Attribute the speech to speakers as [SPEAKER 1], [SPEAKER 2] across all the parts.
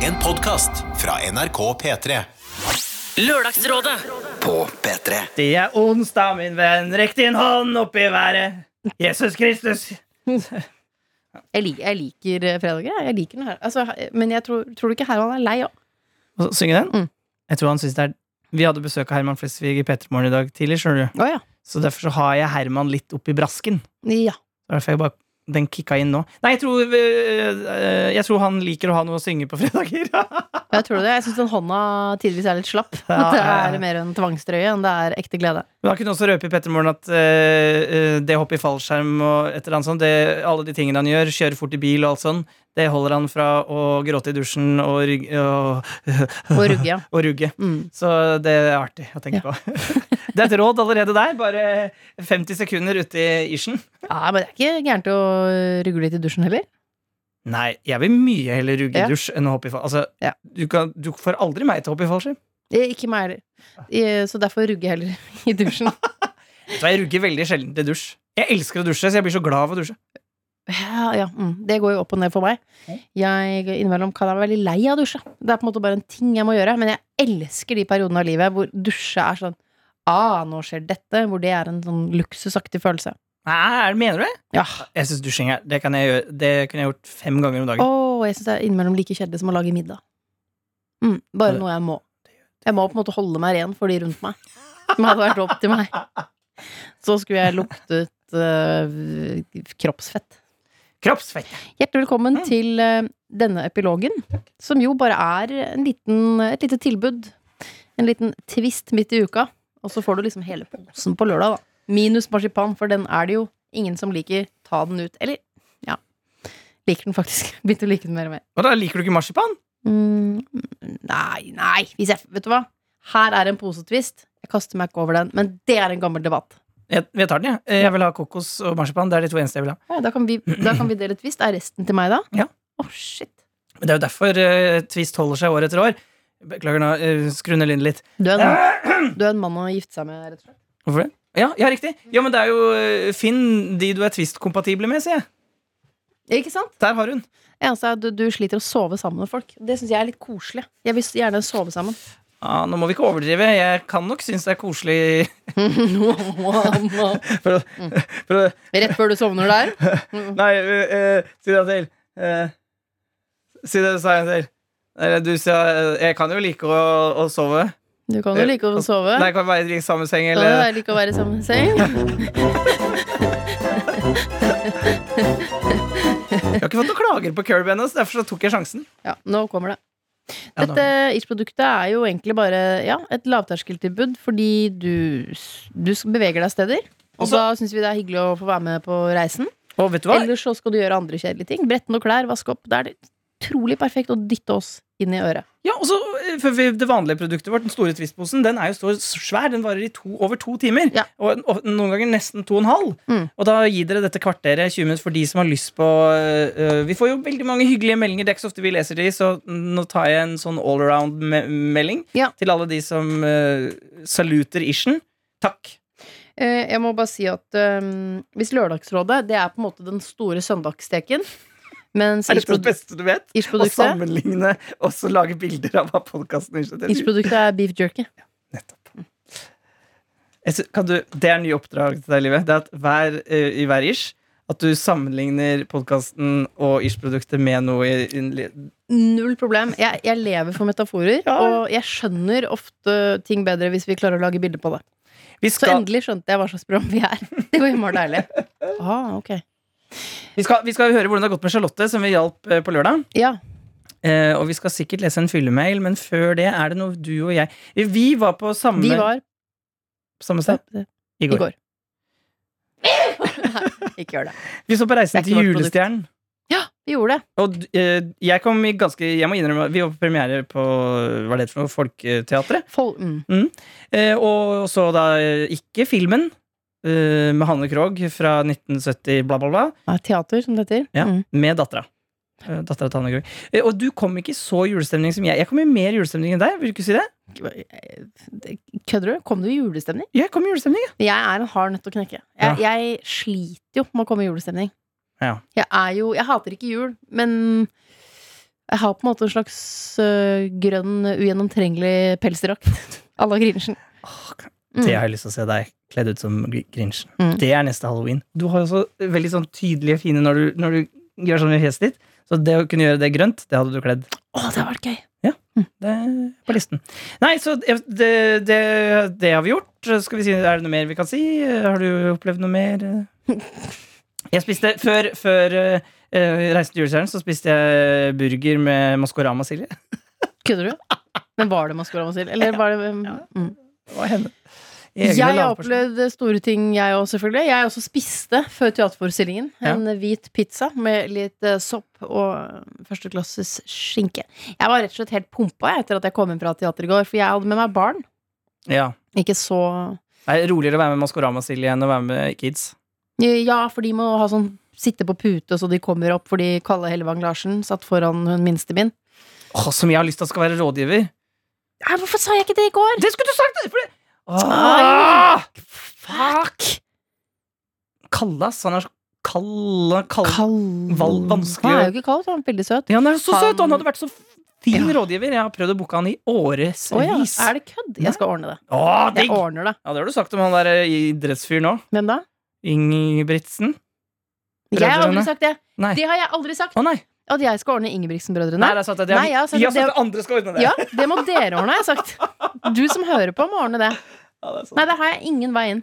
[SPEAKER 1] En podkast fra NRK P3.
[SPEAKER 2] Lørdagsrådet
[SPEAKER 3] på P3.
[SPEAKER 4] Det er onsdag, min venn. Rekk din hånd opp i været. Jesus Kristus.
[SPEAKER 5] Jeg, lik, jeg liker eh, fredager, jeg. jeg liker den her. Altså, men jeg tror, tror du ikke Herman er lei òg?
[SPEAKER 4] Og så synge den?
[SPEAKER 5] Mm.
[SPEAKER 4] Jeg tror han synes det er Vi hadde besøk av Herman Flesvig i Petermorgen i dag tidlig, skjønner du.
[SPEAKER 5] Å ja.
[SPEAKER 4] Så derfor så har jeg Herman litt oppi brasken.
[SPEAKER 5] ja.
[SPEAKER 4] Det var Derfor jeg bare den kicka inn nå. Nei, jeg tror, øh, øh, jeg tror han liker å ha noe å synge på fredager.
[SPEAKER 5] Jeg tror det. Jeg syns den hånda tidvis er litt slapp.
[SPEAKER 4] Ja,
[SPEAKER 5] At det
[SPEAKER 4] ja, ja.
[SPEAKER 5] er mer en tvangstrøye enn det er ekte glede.
[SPEAKER 4] Men han kunne også røpe i Petermorgen at øh, øh, det hoppet i fallskjerm og et eller annet sånt, det, alle de tingene han gjør, kjøre fort i bil og alt sånn, det holder han fra å gråte i dusjen og, rygg, og,
[SPEAKER 5] Og rugge, ja.
[SPEAKER 4] og rugge.
[SPEAKER 5] Mm.
[SPEAKER 4] Så det er artig å tenke på. Det er et råd allerede der. Bare 50 sekunder ute i isen.
[SPEAKER 5] ja. Men det er ikke gærent å rugge litt i dusjen heller.
[SPEAKER 4] Nei, jeg vil mye heller rugge
[SPEAKER 5] Ja.
[SPEAKER 4] i dusj enn å hoppe i fall. Altså,
[SPEAKER 5] Ja.
[SPEAKER 4] du, kan, du får aldri meg til å hoppe i fallskjerm.
[SPEAKER 5] Eh, Ikke meg heller. Eh, Så derfor rugge heller i dusjen.
[SPEAKER 4] Så jeg rugger veldig sjelden til dusj. Jeg elsker å dusje, så jeg blir så glad av å dusje.
[SPEAKER 5] Ja, ja. Mm. Det går jo opp og ned for meg. Jeg innimellom kan jeg være veldig lei av å dusje. Det er på en måte bare en ting jeg må gjøre. Men jeg elsker de periodene av livet hvor dusje er sånn Ah, nå skjer dette. Hvor det er en sånn luksusaktig følelse.
[SPEAKER 4] Nei, er det- mener du det?
[SPEAKER 5] Ja.
[SPEAKER 4] Jeg syns dusjing er Det kan jeg gjøre Det kunne jeg gjort fem ganger om
[SPEAKER 5] Å,
[SPEAKER 4] dagen.
[SPEAKER 5] jeg syns det er innimellom like kjedelig som å lage middag. Mm, bare noe jeg må. Jeg må på en måte holde meg ren for de rundt meg. Som hadde vært opp til meg. Så skulle jeg luktet eh, kroppsfett.
[SPEAKER 4] Kroppsfett.
[SPEAKER 5] Hjertelig velkommen
[SPEAKER 4] Mm.
[SPEAKER 5] til eh, denne epilogen, som jo bare er en liten, et lite tilbud. En liten twist midt i uka. Og så får du liksom hele posen på lørdag, da. Minus marsipan, for den er det jo ingen som liker. Ta den ut. Eller, ja. Liker den faktisk. Begynte å like den mer og mer.
[SPEAKER 4] Og da liker du ikke marsipan?
[SPEAKER 5] Mm, nei, nei. Hvis jeg, vet du hva? Her er en posetvist. Jeg kaster meg ikke over den, men det er en gammel debatt.
[SPEAKER 4] Jeg, jeg tar den, jeg. Jeg vil ha kokos og marsipan. Det er de to eneste jeg vil ha.
[SPEAKER 5] Ja, da, kan vi, da kan vi dele tvist. Er resten til meg, da?
[SPEAKER 4] Ja.
[SPEAKER 5] Å, shit.
[SPEAKER 4] Men det er jo derfor eh, Twist holder seg år etter år. Beklager nå, eh, skru ned lyden litt.
[SPEAKER 5] Du er, en, du er en mann å gifte seg med, rett og slett.
[SPEAKER 4] Hvorfor det? Ja, ja, riktig. Ja, men det er jo eh, Finn de du er Twist-kompatible med, sier jeg.
[SPEAKER 5] Ikke sant?
[SPEAKER 4] Der har hun.
[SPEAKER 5] Eneste er at du, du sliter å sove sammen med folk. Det syns jeg er litt koselig. Jeg vil s- gjerne sove sammen.
[SPEAKER 4] Ah, nå må vi ikke overdrive. Jeg kan nok synes det er koselig
[SPEAKER 5] Rett
[SPEAKER 4] for å, for å
[SPEAKER 5] før du sovner der.
[SPEAKER 4] Nei, eh, eh, si det en til. Eh, si det sa jeg en til. Eller du sa eh, Jeg kan jo like å, å sove. Eh,
[SPEAKER 5] Du kan jo like å sove.
[SPEAKER 4] Nei, kan vi være i samme seng,
[SPEAKER 5] Kan
[SPEAKER 4] eller
[SPEAKER 5] jo like å være i samme seng.
[SPEAKER 4] Jeg har ikke fått noen klager på Curb ennå, så derfor så tok jeg sjansen.
[SPEAKER 5] Ja, nå kommer det.
[SPEAKER 4] Ja,
[SPEAKER 5] Dette Itch-produktet er jo egentlig bare ja, et lavterskeltilbud fordi du, s- du s- beveger deg steder. Og
[SPEAKER 4] Også-
[SPEAKER 5] da syns vi det er hyggelig å få være med på reisen.
[SPEAKER 4] Og vet du hva?
[SPEAKER 5] Ellers så skal du gjøre andre kjedelige ting. Brette noen klær, vaske opp. Da er det utrolig perfekt å dytte oss inn i øret.
[SPEAKER 4] Ja, og så eh, for vi- Det vanlige produktet vårt, den store Twist-posen, den er jo så svær. Den varer i to, over to timer.
[SPEAKER 5] Ja.
[SPEAKER 4] Og, og noen ganger nesten to og en halv.
[SPEAKER 5] Mm.
[SPEAKER 4] Og da gir dere dette kvarteret 20 minutter for de som har lyst på eh, eh, Vi får jo veldig mange hyggelige meldinger. Det er ikke så ofte vi leser de, så nå tar jeg en sånn allround-melding
[SPEAKER 5] Ja.
[SPEAKER 4] til alle de som eh, saluter Ishen. Takk.
[SPEAKER 5] Eh, Jeg må bare si at øhm, hvis Lørdagsrådet det er på en måte den store søndagssteken Mens
[SPEAKER 4] Er dette det
[SPEAKER 5] Irsproduk-
[SPEAKER 4] beste du vet? Å
[SPEAKER 5] Irsproduktet
[SPEAKER 4] sammenligne og så lage bilder av hva podkasten Ishen
[SPEAKER 5] Irsproduktet er beef jerky.
[SPEAKER 4] Nettopp. Jeg sy- Kan du, det er nye oppdrag til deg, Livet. Det er at hver, eh, i hver ish at du sammenligner podkasten og ish-produktet med noe i, i li-
[SPEAKER 5] Null problem. Jeg, jeg lever for metaforer,
[SPEAKER 4] Ja.
[SPEAKER 5] og jeg skjønner ofte ting bedre hvis vi klarer å lage bilder på det.
[SPEAKER 4] vi
[SPEAKER 5] Så
[SPEAKER 4] skal,
[SPEAKER 5] endelig skjønte jeg hva slags program vi er. Det var innmari deilig. Ah, ok.
[SPEAKER 4] vi, skal, vi skal høre hvordan det har gått med Charlotte, som vi hjalp eh, på lørdag.
[SPEAKER 5] Ja.
[SPEAKER 4] Eh, og vi skal sikkert lese en fyllemail, men før det er det noe du og jeg Vi var på samme,
[SPEAKER 5] Vi var
[SPEAKER 4] samme sted i
[SPEAKER 5] i
[SPEAKER 4] går.
[SPEAKER 5] går. Nei, ikke gjør det.
[SPEAKER 4] Vi så på Reisen
[SPEAKER 5] Det er
[SPEAKER 4] til
[SPEAKER 5] ikke vårt produkt.
[SPEAKER 4] julestjernen.
[SPEAKER 5] Ja, vi gjorde det.
[SPEAKER 4] Og eh, jeg kom i ganske Jeg må innrømme at vi var på premiere på Hva er det for noe? Folketeatret.
[SPEAKER 5] Fol mm.
[SPEAKER 4] Eh, og så da eh, ikke filmen eh, med Hanne Krogh fra 1970, bla, bla, bla,
[SPEAKER 5] Nei, Teater, som det heter.
[SPEAKER 4] Ja.
[SPEAKER 5] Mm.
[SPEAKER 4] med dattera. Eh, dattera til Hanne Krogh. Eh, og du kom ikke i så julestemning som jeg. Jeg kom i mer julestemning enn deg. Vil du ikke si det?
[SPEAKER 5] Kødder du? Kom du i julestemning?
[SPEAKER 4] Jeg kom i julestemning, ja.
[SPEAKER 5] Jeg er en hard nøtt å knekke. Jeg, jeg sliter jo med å komme i julestemning.
[SPEAKER 4] Ja.
[SPEAKER 5] Jeg er jo Jeg hater ikke jul, men Jeg har på en måte en slags øh, grønn, ugjennomtrengelig pelsdrakt. À la Grinchen.
[SPEAKER 4] Det har jeg lyst til å se deg kledd ut som Gr- Grinchen.
[SPEAKER 5] Mm.
[SPEAKER 4] Det er neste halloween. Du har jo så veldig sånn tydelige fine når du, når du gjør sånn med fjeset ditt. Så det å kunne gjøre det grønt, det hadde du kledd
[SPEAKER 5] Å, det hadde vært gøy!
[SPEAKER 4] det er på listen. Nei, så det, det, det- det har vi gjort. Skal vi si, Er det noe mer vi kan si? Har du opplevd noe mer? Jeg spiste Før, før eh, eh, Reisen til julestjernen så spiste jeg burger med Maskorama-silje.
[SPEAKER 5] Kødder du? Men var det Maskorama Silje? Eller var det mm.
[SPEAKER 4] Det var henne. I egne
[SPEAKER 5] Jeg har
[SPEAKER 4] lagporsjoner.
[SPEAKER 5] opplevd store ting, jeg òg, selvfølgelig. Jeg også spiste før teaterforestillingen
[SPEAKER 4] Ja.
[SPEAKER 5] en hvit pizza med litt eh, sopp og førsteklasses skinke. Jeg var rett og slett helt pumpa jeg, etter at jeg kom inn fra teater i går, for jeg hadde med meg barn.
[SPEAKER 4] ja.
[SPEAKER 5] Ikke så
[SPEAKER 4] Det er roligere å være med Maskorama-silje enn å være med kids.
[SPEAKER 5] Ja, for de må ha sånn sitte på pute så de kommer opp, fordi Kalle Hellevang Larsen satt foran hun minste min.
[SPEAKER 4] Åh, som jeg har lyst til at skal være rådgiver.
[SPEAKER 5] Nei, hvorfor sa jeg ikke det i går?
[SPEAKER 4] Det skulle du sagt! For det.
[SPEAKER 5] Ai.
[SPEAKER 4] Åh! Fuck! Kallas. Han er så kalla, kalla.
[SPEAKER 5] Kald
[SPEAKER 4] Val- vanskelig
[SPEAKER 5] Han er
[SPEAKER 4] å-
[SPEAKER 5] jo ikke kald, han er veldig søt.
[SPEAKER 4] Ja, han er så
[SPEAKER 5] Han-
[SPEAKER 4] søt, og han hadde vært så fin
[SPEAKER 5] Ja.
[SPEAKER 4] rådgiver. Jeg har prøvd å booke han i årevis.
[SPEAKER 5] Å ja, er det kødd? Jeg skal ordne det.
[SPEAKER 4] Å, digg!
[SPEAKER 5] Jeg ordner det.
[SPEAKER 4] Ja, det har du sagt om han der eh, idrettsfyren òg.
[SPEAKER 5] Hvem da?
[SPEAKER 4] Ingebrigtsen.
[SPEAKER 5] Jeg har
[SPEAKER 4] Brødrene.
[SPEAKER 5] aldri sagt det.
[SPEAKER 4] Nei.
[SPEAKER 5] Det har jeg aldri sagt.
[SPEAKER 4] Å nei.
[SPEAKER 5] At jeg skal ordne Ingebrigtsen-brødrene.
[SPEAKER 4] Nei, det er sant. at jeg-
[SPEAKER 5] Nei, jeg har sagt
[SPEAKER 4] jeg
[SPEAKER 5] at det-
[SPEAKER 4] at andre skal ordne det.
[SPEAKER 5] Ja, det må dere ordne, har jeg sagt. Du som hører på, må ordne det.
[SPEAKER 4] Ja, det er sant.
[SPEAKER 5] Nei, der har jeg ingen vei inn.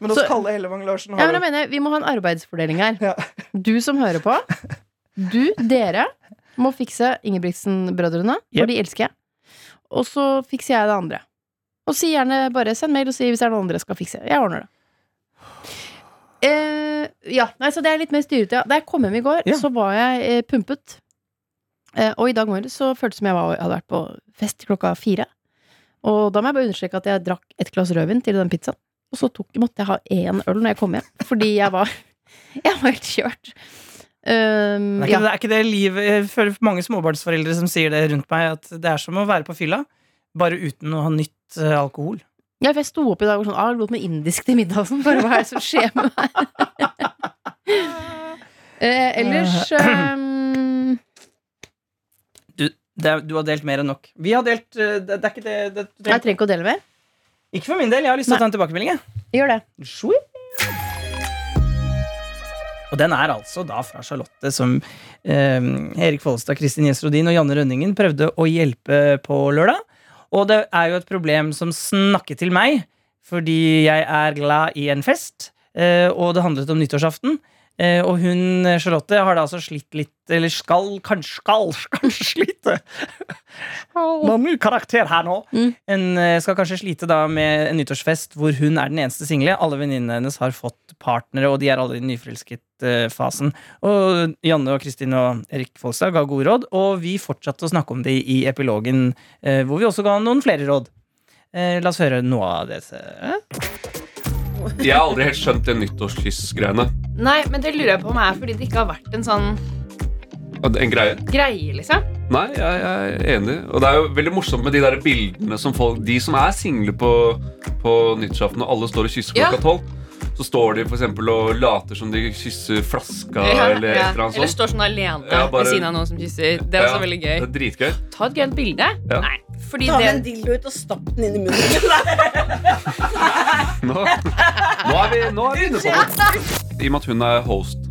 [SPEAKER 4] Men
[SPEAKER 5] så-
[SPEAKER 4] Kalle Hellevang Larsen
[SPEAKER 5] Ja, men jeg mener, vi må ha en arbeidsfordeling her. Du som hører på, du, dere, må fikse Ingebrigtsen-brødrene,
[SPEAKER 4] Yep.
[SPEAKER 5] for de elsker jeg. Og så fikser jeg det andre. Og si gjerne bare send mail og si hvis det er noe andre jeg skal fikse. Jeg ordner det. Eh, ja, nei, så det er litt mer styrete. Ja. Da jeg kom hjem i går,
[SPEAKER 4] Ja.
[SPEAKER 5] så var jeg eh, pumpet. Eh, og i dag morges så føltes det som jeg var, hadde vært på fest klokka fire. Og da må jeg bare understreke at jeg drakk et glass rødvin til den pizzaen. Og så tok, måtte jeg ha én øl når jeg kom hjem, fordi jeg var, jeg var helt kjørt. Um,
[SPEAKER 4] Det er, ikke,
[SPEAKER 5] ja.
[SPEAKER 4] det er ikke det livet Jeg føler mange småbarnsforeldre som sier det rundt meg, at det er som å være på fylla, bare uten å ha nytt eh, alkohol.
[SPEAKER 5] ja, for jeg sto opp i dag og sånn ah, Lot meg indisk til middag og sånn. Bare hva er det som skjer med meg? eh, ellers um,
[SPEAKER 4] Du, det, er- du har delt mer enn nok. Vi har delt eh, Det, det er ikke det, det, det
[SPEAKER 5] Jeg trenger ikke å dele mer.
[SPEAKER 4] Ikke for min del. Jeg har lyst til å ta en tilbakemelding, jeg.
[SPEAKER 5] Gjør det.
[SPEAKER 4] Sweet. Og den er altså da fra Charlotte, som eh, Erik Follestad, Kristin Gjesrodin og Janne Rønningen prøvde å hjelpe på lørdag. Og det er jo et problem som snakket til meg, fordi jeg er glad i en fest, eh, og det handlet om nyttårsaften. Eh, og hun, eh, Charlotte, har da altså slitt litt, eller skal, kanskje skal, kanskje slite Noen ny karakter her nå.
[SPEAKER 5] Mm.
[SPEAKER 4] Hun eh, skal kanskje slite da med en nyttårsfest hvor hun er den eneste single. Alle venninnene hennes har fått partnere, og de er alle i nyforelsket-fasen. Og Janne og Kristin og Erik Folstad ga gode råd, og vi fortsatte å snakke om det i epilogen, eh, hvor vi også ga noen flere råd. Eh, La oss høre noe av det. eh?
[SPEAKER 3] Jeg har aldri helt skjønt det nyttårskyss-greiene.
[SPEAKER 6] Nei, men det lurer jeg på om er fordi det ikke har vært en sånn
[SPEAKER 3] At En greie.
[SPEAKER 6] greie, liksom.
[SPEAKER 3] Nei, jeg, jeg er enig. Og det er jo veldig morsomt med de der bildene som folk De som er single på, på nyttårsaften, og alle står og kysser
[SPEAKER 6] Ja.
[SPEAKER 3] klokka tolv. Så står de for eksempel og later som de kysser flaska eller et eller annet sånt.
[SPEAKER 6] står sånn alene
[SPEAKER 3] Ja, bare-
[SPEAKER 6] ved siden av noen som kysser. Det er også
[SPEAKER 3] Ja,
[SPEAKER 6] veldig
[SPEAKER 3] Det
[SPEAKER 6] gøy.
[SPEAKER 3] er dritgøy.
[SPEAKER 6] Ta et grønt bilde.
[SPEAKER 3] Ja.
[SPEAKER 6] Nei, fordi
[SPEAKER 7] Ta med
[SPEAKER 6] det
[SPEAKER 7] en dildo ut og stapp den inn i munnen.
[SPEAKER 3] Nå, nå, er vi, nå er vi inne på det. I og med at hun er host,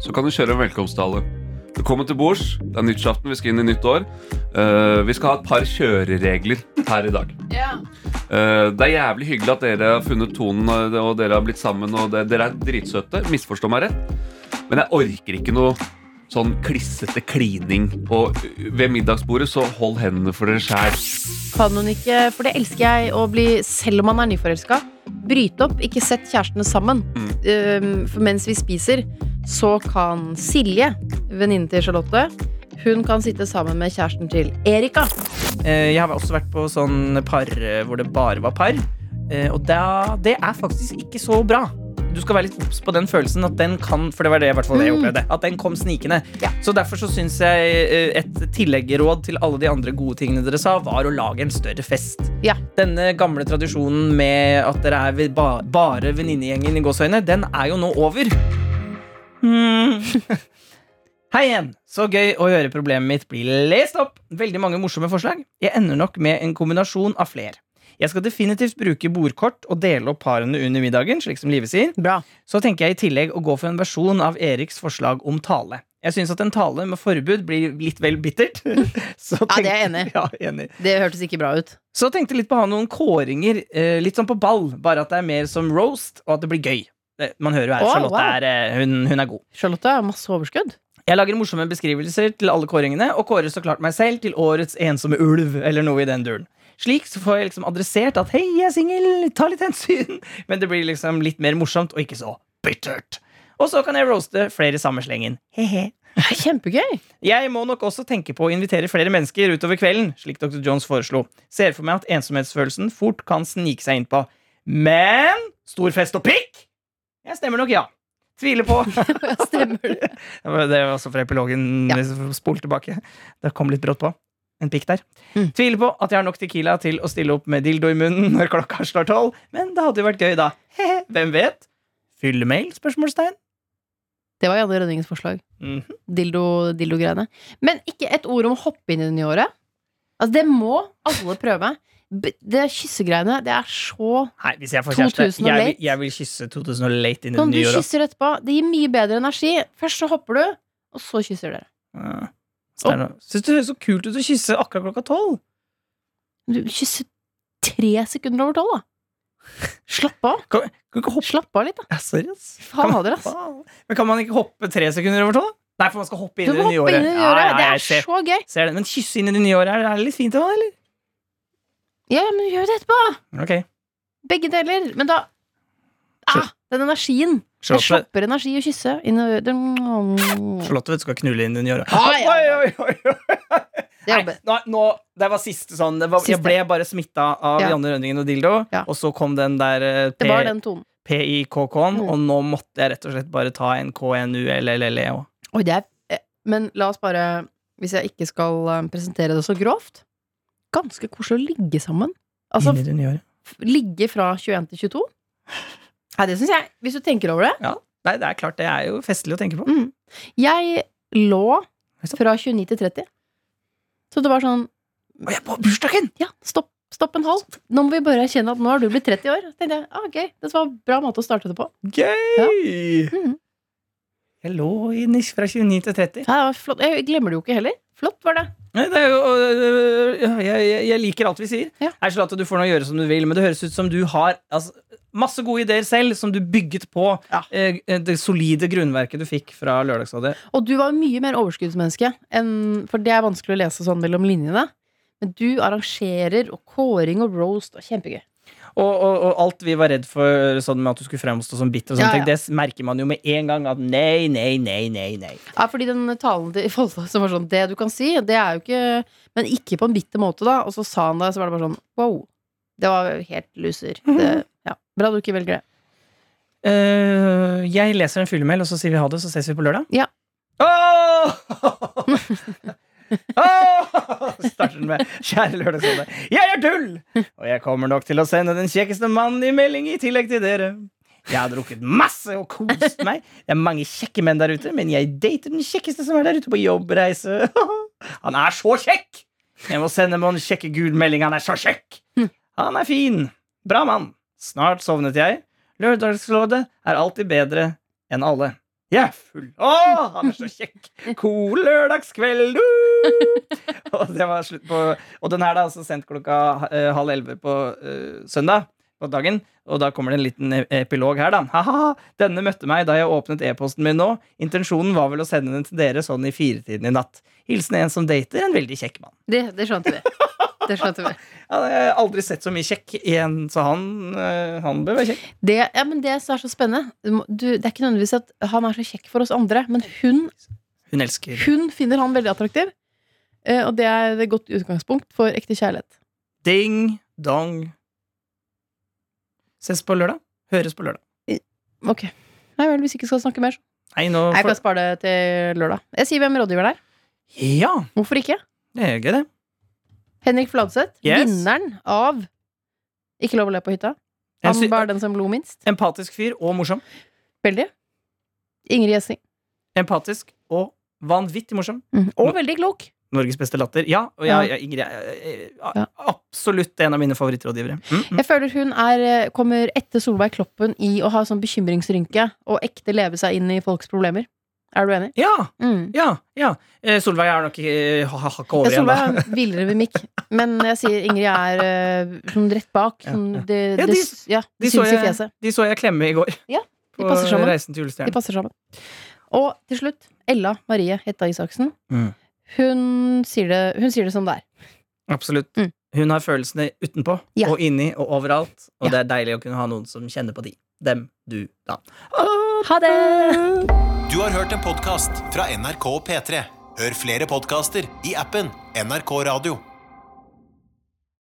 [SPEAKER 3] så kan du kjøre en velkomsttale. Velkommen til bords. Det er nyttårsaften, vi skal inn i nytt år. Eh, vi skal ha et par kjøreregler her i dag.
[SPEAKER 6] ja.
[SPEAKER 3] Eh, det er jævlig hyggelig at dere har funnet tonen, og og dere har blitt sammen. Og det, dere er dritsøte. Misforstå meg rett. Men jeg orker ikke noe sånn klissete klining. Og eh, ved middagsbordet, så hold hendene for dere sjæl.
[SPEAKER 5] Kan hun ikke, for det elsker jeg å bli, selv om man er nyforelska. Bryte opp, ikke sett kjærestene sammen. Um, for mens vi spiser, så kan Silje, venninnen til Charlotte, hun kan sitte sammen med kjæresten til Erika.
[SPEAKER 4] Eh, Jeg har også vært på sånn par eh, hvor det bare var par, eh, og da, det er faktisk ikke så bra. Du skal være litt obs på den følelsen, at den kan, for det var det i hvert fall jeg opplevde. At den kom snikende. Så derfor så syns jeg eh, et tilleggeråd til alle de andre gode tingene dere sa, var å lage en større fest.
[SPEAKER 5] Ja.
[SPEAKER 4] Denne gamle tradisjonen med at dere er ved- ba bare venninnegjengen i gåseøyne, den er jo nå over. Hmm. Hei igjen! Så gøy å gjøre problemet mitt bli lest opp! Veldig mange morsomme forslag. Jeg ender nok med en kombinasjon av fler. Jeg skal definitivt bruke bordkort og dele opp parene under middagen, slik som Live sier.
[SPEAKER 5] Bra.
[SPEAKER 4] Så tenker jeg i tillegg å gå for en versjon av Eriks forslag om tale. Jeg syns at en tale med forbud blir litt vel bittert. Så
[SPEAKER 5] Ja, det
[SPEAKER 4] tenk-
[SPEAKER 5] er jeg enig i.
[SPEAKER 4] Ja, enig.
[SPEAKER 5] Det hørtes ikke bra ut.
[SPEAKER 4] Så tenkte jeg litt på å ha noen kåringer, eh, litt sånn på ball, bare at det er mer som roast, og at det blir gøy. Det- Man hører jo her,
[SPEAKER 5] Å,
[SPEAKER 4] Charlotte
[SPEAKER 5] wow.
[SPEAKER 4] er, eh, hun, hun er god.
[SPEAKER 5] Charlotte har masse overskudd.
[SPEAKER 4] Jeg lager morsomme beskrivelser til alle kåringene, og kårer så klart meg selv til årets ensomme ulv, eller noe i den duren. Slik så får jeg liksom adressert at hei, jeg er singel, ta litt hensyn, men det blir liksom litt mer morsomt, og ikke så bittert. Og så kan jeg roaste flere i samme slengen. He-he.
[SPEAKER 5] Kjempegøy!
[SPEAKER 4] Jeg må nok også tenke på å invitere flere mennesker utover kvelden, slik dr. Jones foreslo. Ser for meg at ensomhetsfølelsen fort kan snike seg innpå. Men stor fest og pikk? Jeg stemmer nok ja. Tviler på
[SPEAKER 5] Stemmer det.
[SPEAKER 4] Det var- det var også fra epilogen.
[SPEAKER 5] Ja.
[SPEAKER 4] hvis- Spol tilbake. Det kom litt brått på. En pikk der.
[SPEAKER 5] Mm.
[SPEAKER 4] Tviler på at jeg har nok Tequila til å stille opp med dildo i munnen når klokka slår tolv, men det hadde jo vært gøy, da. He-he, Hvem vet? Fyllemail? Spørsmålstegn.
[SPEAKER 5] Det var Janne Rønningens forslag.
[SPEAKER 4] Mhm.
[SPEAKER 5] Dildo- Dildo-greiene. Men ikke et ord om å hoppe inn i det nye året. Altså, det må alle prøve. B- Det kyssegreiene, det er så
[SPEAKER 4] Nei, hvis jeg får kjæreste
[SPEAKER 5] 2000 og
[SPEAKER 4] jeg, vil-
[SPEAKER 5] late?
[SPEAKER 4] jeg vil kysse 2000 og late inn i det
[SPEAKER 5] Når du
[SPEAKER 4] nye året.
[SPEAKER 5] kysser etterpå, det gir mye bedre energi. Først så hopper du, og så kysser dere.
[SPEAKER 4] Ja. Steinar, Syns du det høres så kult ut å kysse akkurat klokka tolv?
[SPEAKER 5] Du kysser tre sekunder over tolv, da. Slapp av.
[SPEAKER 4] Kan du ikke hoppe
[SPEAKER 5] Slapp av litt, da.
[SPEAKER 4] Ja, Sorry, ass.
[SPEAKER 5] Fader,
[SPEAKER 4] Kan-
[SPEAKER 5] ass.
[SPEAKER 4] faen. Men kan man ikke hoppe tre sekunder over tolv? Nei, for man skal hoppe
[SPEAKER 5] Du
[SPEAKER 4] inn i
[SPEAKER 5] må
[SPEAKER 4] det nye
[SPEAKER 5] hoppe
[SPEAKER 4] året.
[SPEAKER 5] inn i det
[SPEAKER 4] Ja,
[SPEAKER 5] året.
[SPEAKER 4] ja,
[SPEAKER 5] Det
[SPEAKER 4] jeg
[SPEAKER 5] er
[SPEAKER 4] ser,
[SPEAKER 5] så gøy.
[SPEAKER 4] ser det. Men kysse inn i det nye året, er det litt fint òg, eller?
[SPEAKER 5] Ja, ja, men gjør det etterpå.
[SPEAKER 4] Ok.
[SPEAKER 5] Begge deler. Men da ah, Den energien. Det
[SPEAKER 4] Charlotte,
[SPEAKER 5] slapper energi å kysse. Inn i det Det
[SPEAKER 4] Charlotte vet, du skal knulle inn i det nye året.
[SPEAKER 5] Ah,
[SPEAKER 4] Oi,
[SPEAKER 5] ja.
[SPEAKER 4] oi, oi, oi.
[SPEAKER 5] er
[SPEAKER 4] Nei, nå, nå, det var siste sånn. Det var, jeg
[SPEAKER 5] Siste.
[SPEAKER 4] ble bare smitta av
[SPEAKER 5] Ja.
[SPEAKER 4] Janne Rønningen og dildo,
[SPEAKER 5] Ja.
[SPEAKER 4] og så kom den der eh,
[SPEAKER 5] Det var
[SPEAKER 4] P-
[SPEAKER 5] den tonen.
[SPEAKER 4] PIKK-en,
[SPEAKER 5] Mm.
[SPEAKER 4] og nå måtte jeg rett og slett bare ta en KNULLE òg.
[SPEAKER 5] Oi, det er, eh, men la oss bare, hvis jeg ikke skal eh, presentere det så grovt Ganske koselig å ligge sammen. Altså
[SPEAKER 4] Inn i det nye året.
[SPEAKER 5] f- ligge fra 21 til 22. Nei, det syns jeg. Hvis du tenker over det.
[SPEAKER 4] Nei, det er klart, det er jo festlig å tenke på.
[SPEAKER 5] Mm. Jeg lå
[SPEAKER 4] sant?
[SPEAKER 5] fra 29 til 30. Så det var sånn
[SPEAKER 4] Og jeg er på bursdagen!
[SPEAKER 5] Ja, stopp, stopp en halv. Nå må vi bare erkjenne at nå har du blitt 30 år. Tenkte jeg, ah, ok, Det var en bra måte å starte det på.
[SPEAKER 4] Gøy!
[SPEAKER 5] Mhm.
[SPEAKER 4] Jeg lå i nisj fra 29 til 30.
[SPEAKER 5] Ja, det var flott. Jeg glemmer det jo ikke heller. Flott var det.
[SPEAKER 4] Nei, det er jo, øh, jeg, jeg, jeg liker alt vi sier.
[SPEAKER 5] Ja.
[SPEAKER 4] Er Charlotte, du får nå gjøre som du vil, men det høres ut som du har altså, masse gode ideer selv som du bygget på
[SPEAKER 5] Ja.
[SPEAKER 4] eh, det solide grunnverket du fikk fra Lørdagsrådet.
[SPEAKER 5] Og du var mye mer overskuddsmenneske, enn, for det er vanskelig å lese sånn mellom linjene. Men du arrangerer og kåring og roast og kjempegøy.
[SPEAKER 4] Og, og, og alt vi var redd for, sånn med at du skulle fremstå som bitter, og sånne
[SPEAKER 5] Ja, ja.
[SPEAKER 4] ting, det merker man jo med en gang at nei, nei, nei, nei. nei.
[SPEAKER 5] Ja, fordi den talen til Folda som var sånn Det du kan si, det er jo ikke Men ikke på en bitter måte, da. Og så sa han det, så var det bare sånn wow. Det var helt loser. Det, ja. Bra du ikke velger det.
[SPEAKER 4] Eh, jeg leser en fyllemail, og så sier vi ha det, så ses vi på lørdag.
[SPEAKER 5] Ja.
[SPEAKER 4] Åh! Åh! Starter den med 'Kjære Lørdagsrådet, jeg er tull!' Og jeg kommer nok til å sende den kjekkeste mannen i melding i tillegg til dere. Jeg har drukket masse og kost meg. Det er mange kjekke menn der ute, men jeg dater den kjekkeste som er der ute på jobbreise. Han er så kjekk! Jeg må sende med en kjekke gul melding. Han er så kjekk! Han er fin. Bra mann. Snart sovnet jeg. Lørdagsrådet er alltid bedre enn alle. Jeg er full. Å, han er så kjekk! Cool lørdagskveld! Uh! Og det var slutt på Og den her er altså sendt klokka eh, halv elleve på eh, søndag. På dagen, og da kommer det en liten e- epilog her, da. Haha, denne møtte meg da jeg åpnet e-posten min nå. Intensjonen var vel å sende den til dere sånn i firetiden i natt. Hilsen en som dater en veldig kjekk mann.
[SPEAKER 5] Det, det skjønte vi. Det skjønte vi.
[SPEAKER 4] Ja, jeg har aldri sett så mye kjekk igjen, så han, eh, han bør være kjekk.
[SPEAKER 5] Det, ja, men det som er så spennende du, må- du, Det er ikke nødvendigvis at han er så kjekk for oss andre, men hun,
[SPEAKER 4] Hun elsker
[SPEAKER 5] hun finner han veldig attraktiv. Eh, Og det er et godt utgangspunkt for ekte kjærlighet.
[SPEAKER 4] Ding dong. Ses på lørdag. Høres på lørdag.
[SPEAKER 5] Ok. Nei vel, hvis ikke skal snakke mer, så.
[SPEAKER 4] Nei, nå
[SPEAKER 5] Jeg kan
[SPEAKER 4] får...
[SPEAKER 5] spare det til lørdag. Jeg sier hvem rådgiveren er.
[SPEAKER 4] Ja,
[SPEAKER 5] Hvorfor ikke?
[SPEAKER 4] det er gøy, det.
[SPEAKER 5] Henrik Fladseth.
[SPEAKER 4] Yes.
[SPEAKER 5] Vinneren av Ikke lov å le på hytta.
[SPEAKER 4] En
[SPEAKER 5] Han
[SPEAKER 4] sy-
[SPEAKER 5] var den som lo minst.
[SPEAKER 4] Empatisk fyr og morsom.
[SPEAKER 5] Veldig. Ingrid Gjessing.
[SPEAKER 4] Empatisk og Vanvittig morsom.
[SPEAKER 5] Mm. Og veldig klok.
[SPEAKER 4] Norges beste latter. Ja, og jeg, jeg, Ingrid er
[SPEAKER 5] Ja.
[SPEAKER 4] er absolutt en av mine favorittrådgivere. Mm, mm.
[SPEAKER 5] Jeg føler hun er, eh, kommer etter Solveig Kloppen i å ha sånn bekymringsrynke og ekte leve seg inn i folks problemer. Er du enig?
[SPEAKER 4] Ja,
[SPEAKER 5] Mm.
[SPEAKER 4] ja, ja. Eh, Solveig er nok eh, ha- ha- hakket
[SPEAKER 5] Ja,
[SPEAKER 4] over igjen, da.
[SPEAKER 5] Solveig har en villere mimikk, men jeg sier Ingrid er eh, sånn rett bak.
[SPEAKER 4] Ja,
[SPEAKER 5] Sånn, det,
[SPEAKER 4] Ja,
[SPEAKER 5] det,
[SPEAKER 4] de-
[SPEAKER 5] s- ja,
[SPEAKER 4] De
[SPEAKER 5] det
[SPEAKER 4] så,
[SPEAKER 5] syns i
[SPEAKER 4] jeg,
[SPEAKER 5] fjeset.
[SPEAKER 4] de så jeg klemme i går.
[SPEAKER 5] Ja, de
[SPEAKER 4] på
[SPEAKER 5] passer sammen.
[SPEAKER 4] Reisen til
[SPEAKER 5] De
[SPEAKER 4] julestjernen.
[SPEAKER 5] passer sammen. Og til slutt Ella Marie Hetta Isaksen.
[SPEAKER 4] Mm.
[SPEAKER 5] Hun sier det, hun sier det som det er.
[SPEAKER 4] Absolutt.
[SPEAKER 5] Mm.
[SPEAKER 4] Hun har følelsene utenpå
[SPEAKER 5] Ja.
[SPEAKER 4] og inni og overalt, og
[SPEAKER 5] Ja.
[SPEAKER 4] det er deilig å kunne ha noen som kjenner på de. Dem, du, da.
[SPEAKER 5] Ha det!
[SPEAKER 1] Du har hørt en podcast fra NRK P3. Hør flere podcaster i appen NRK Radio.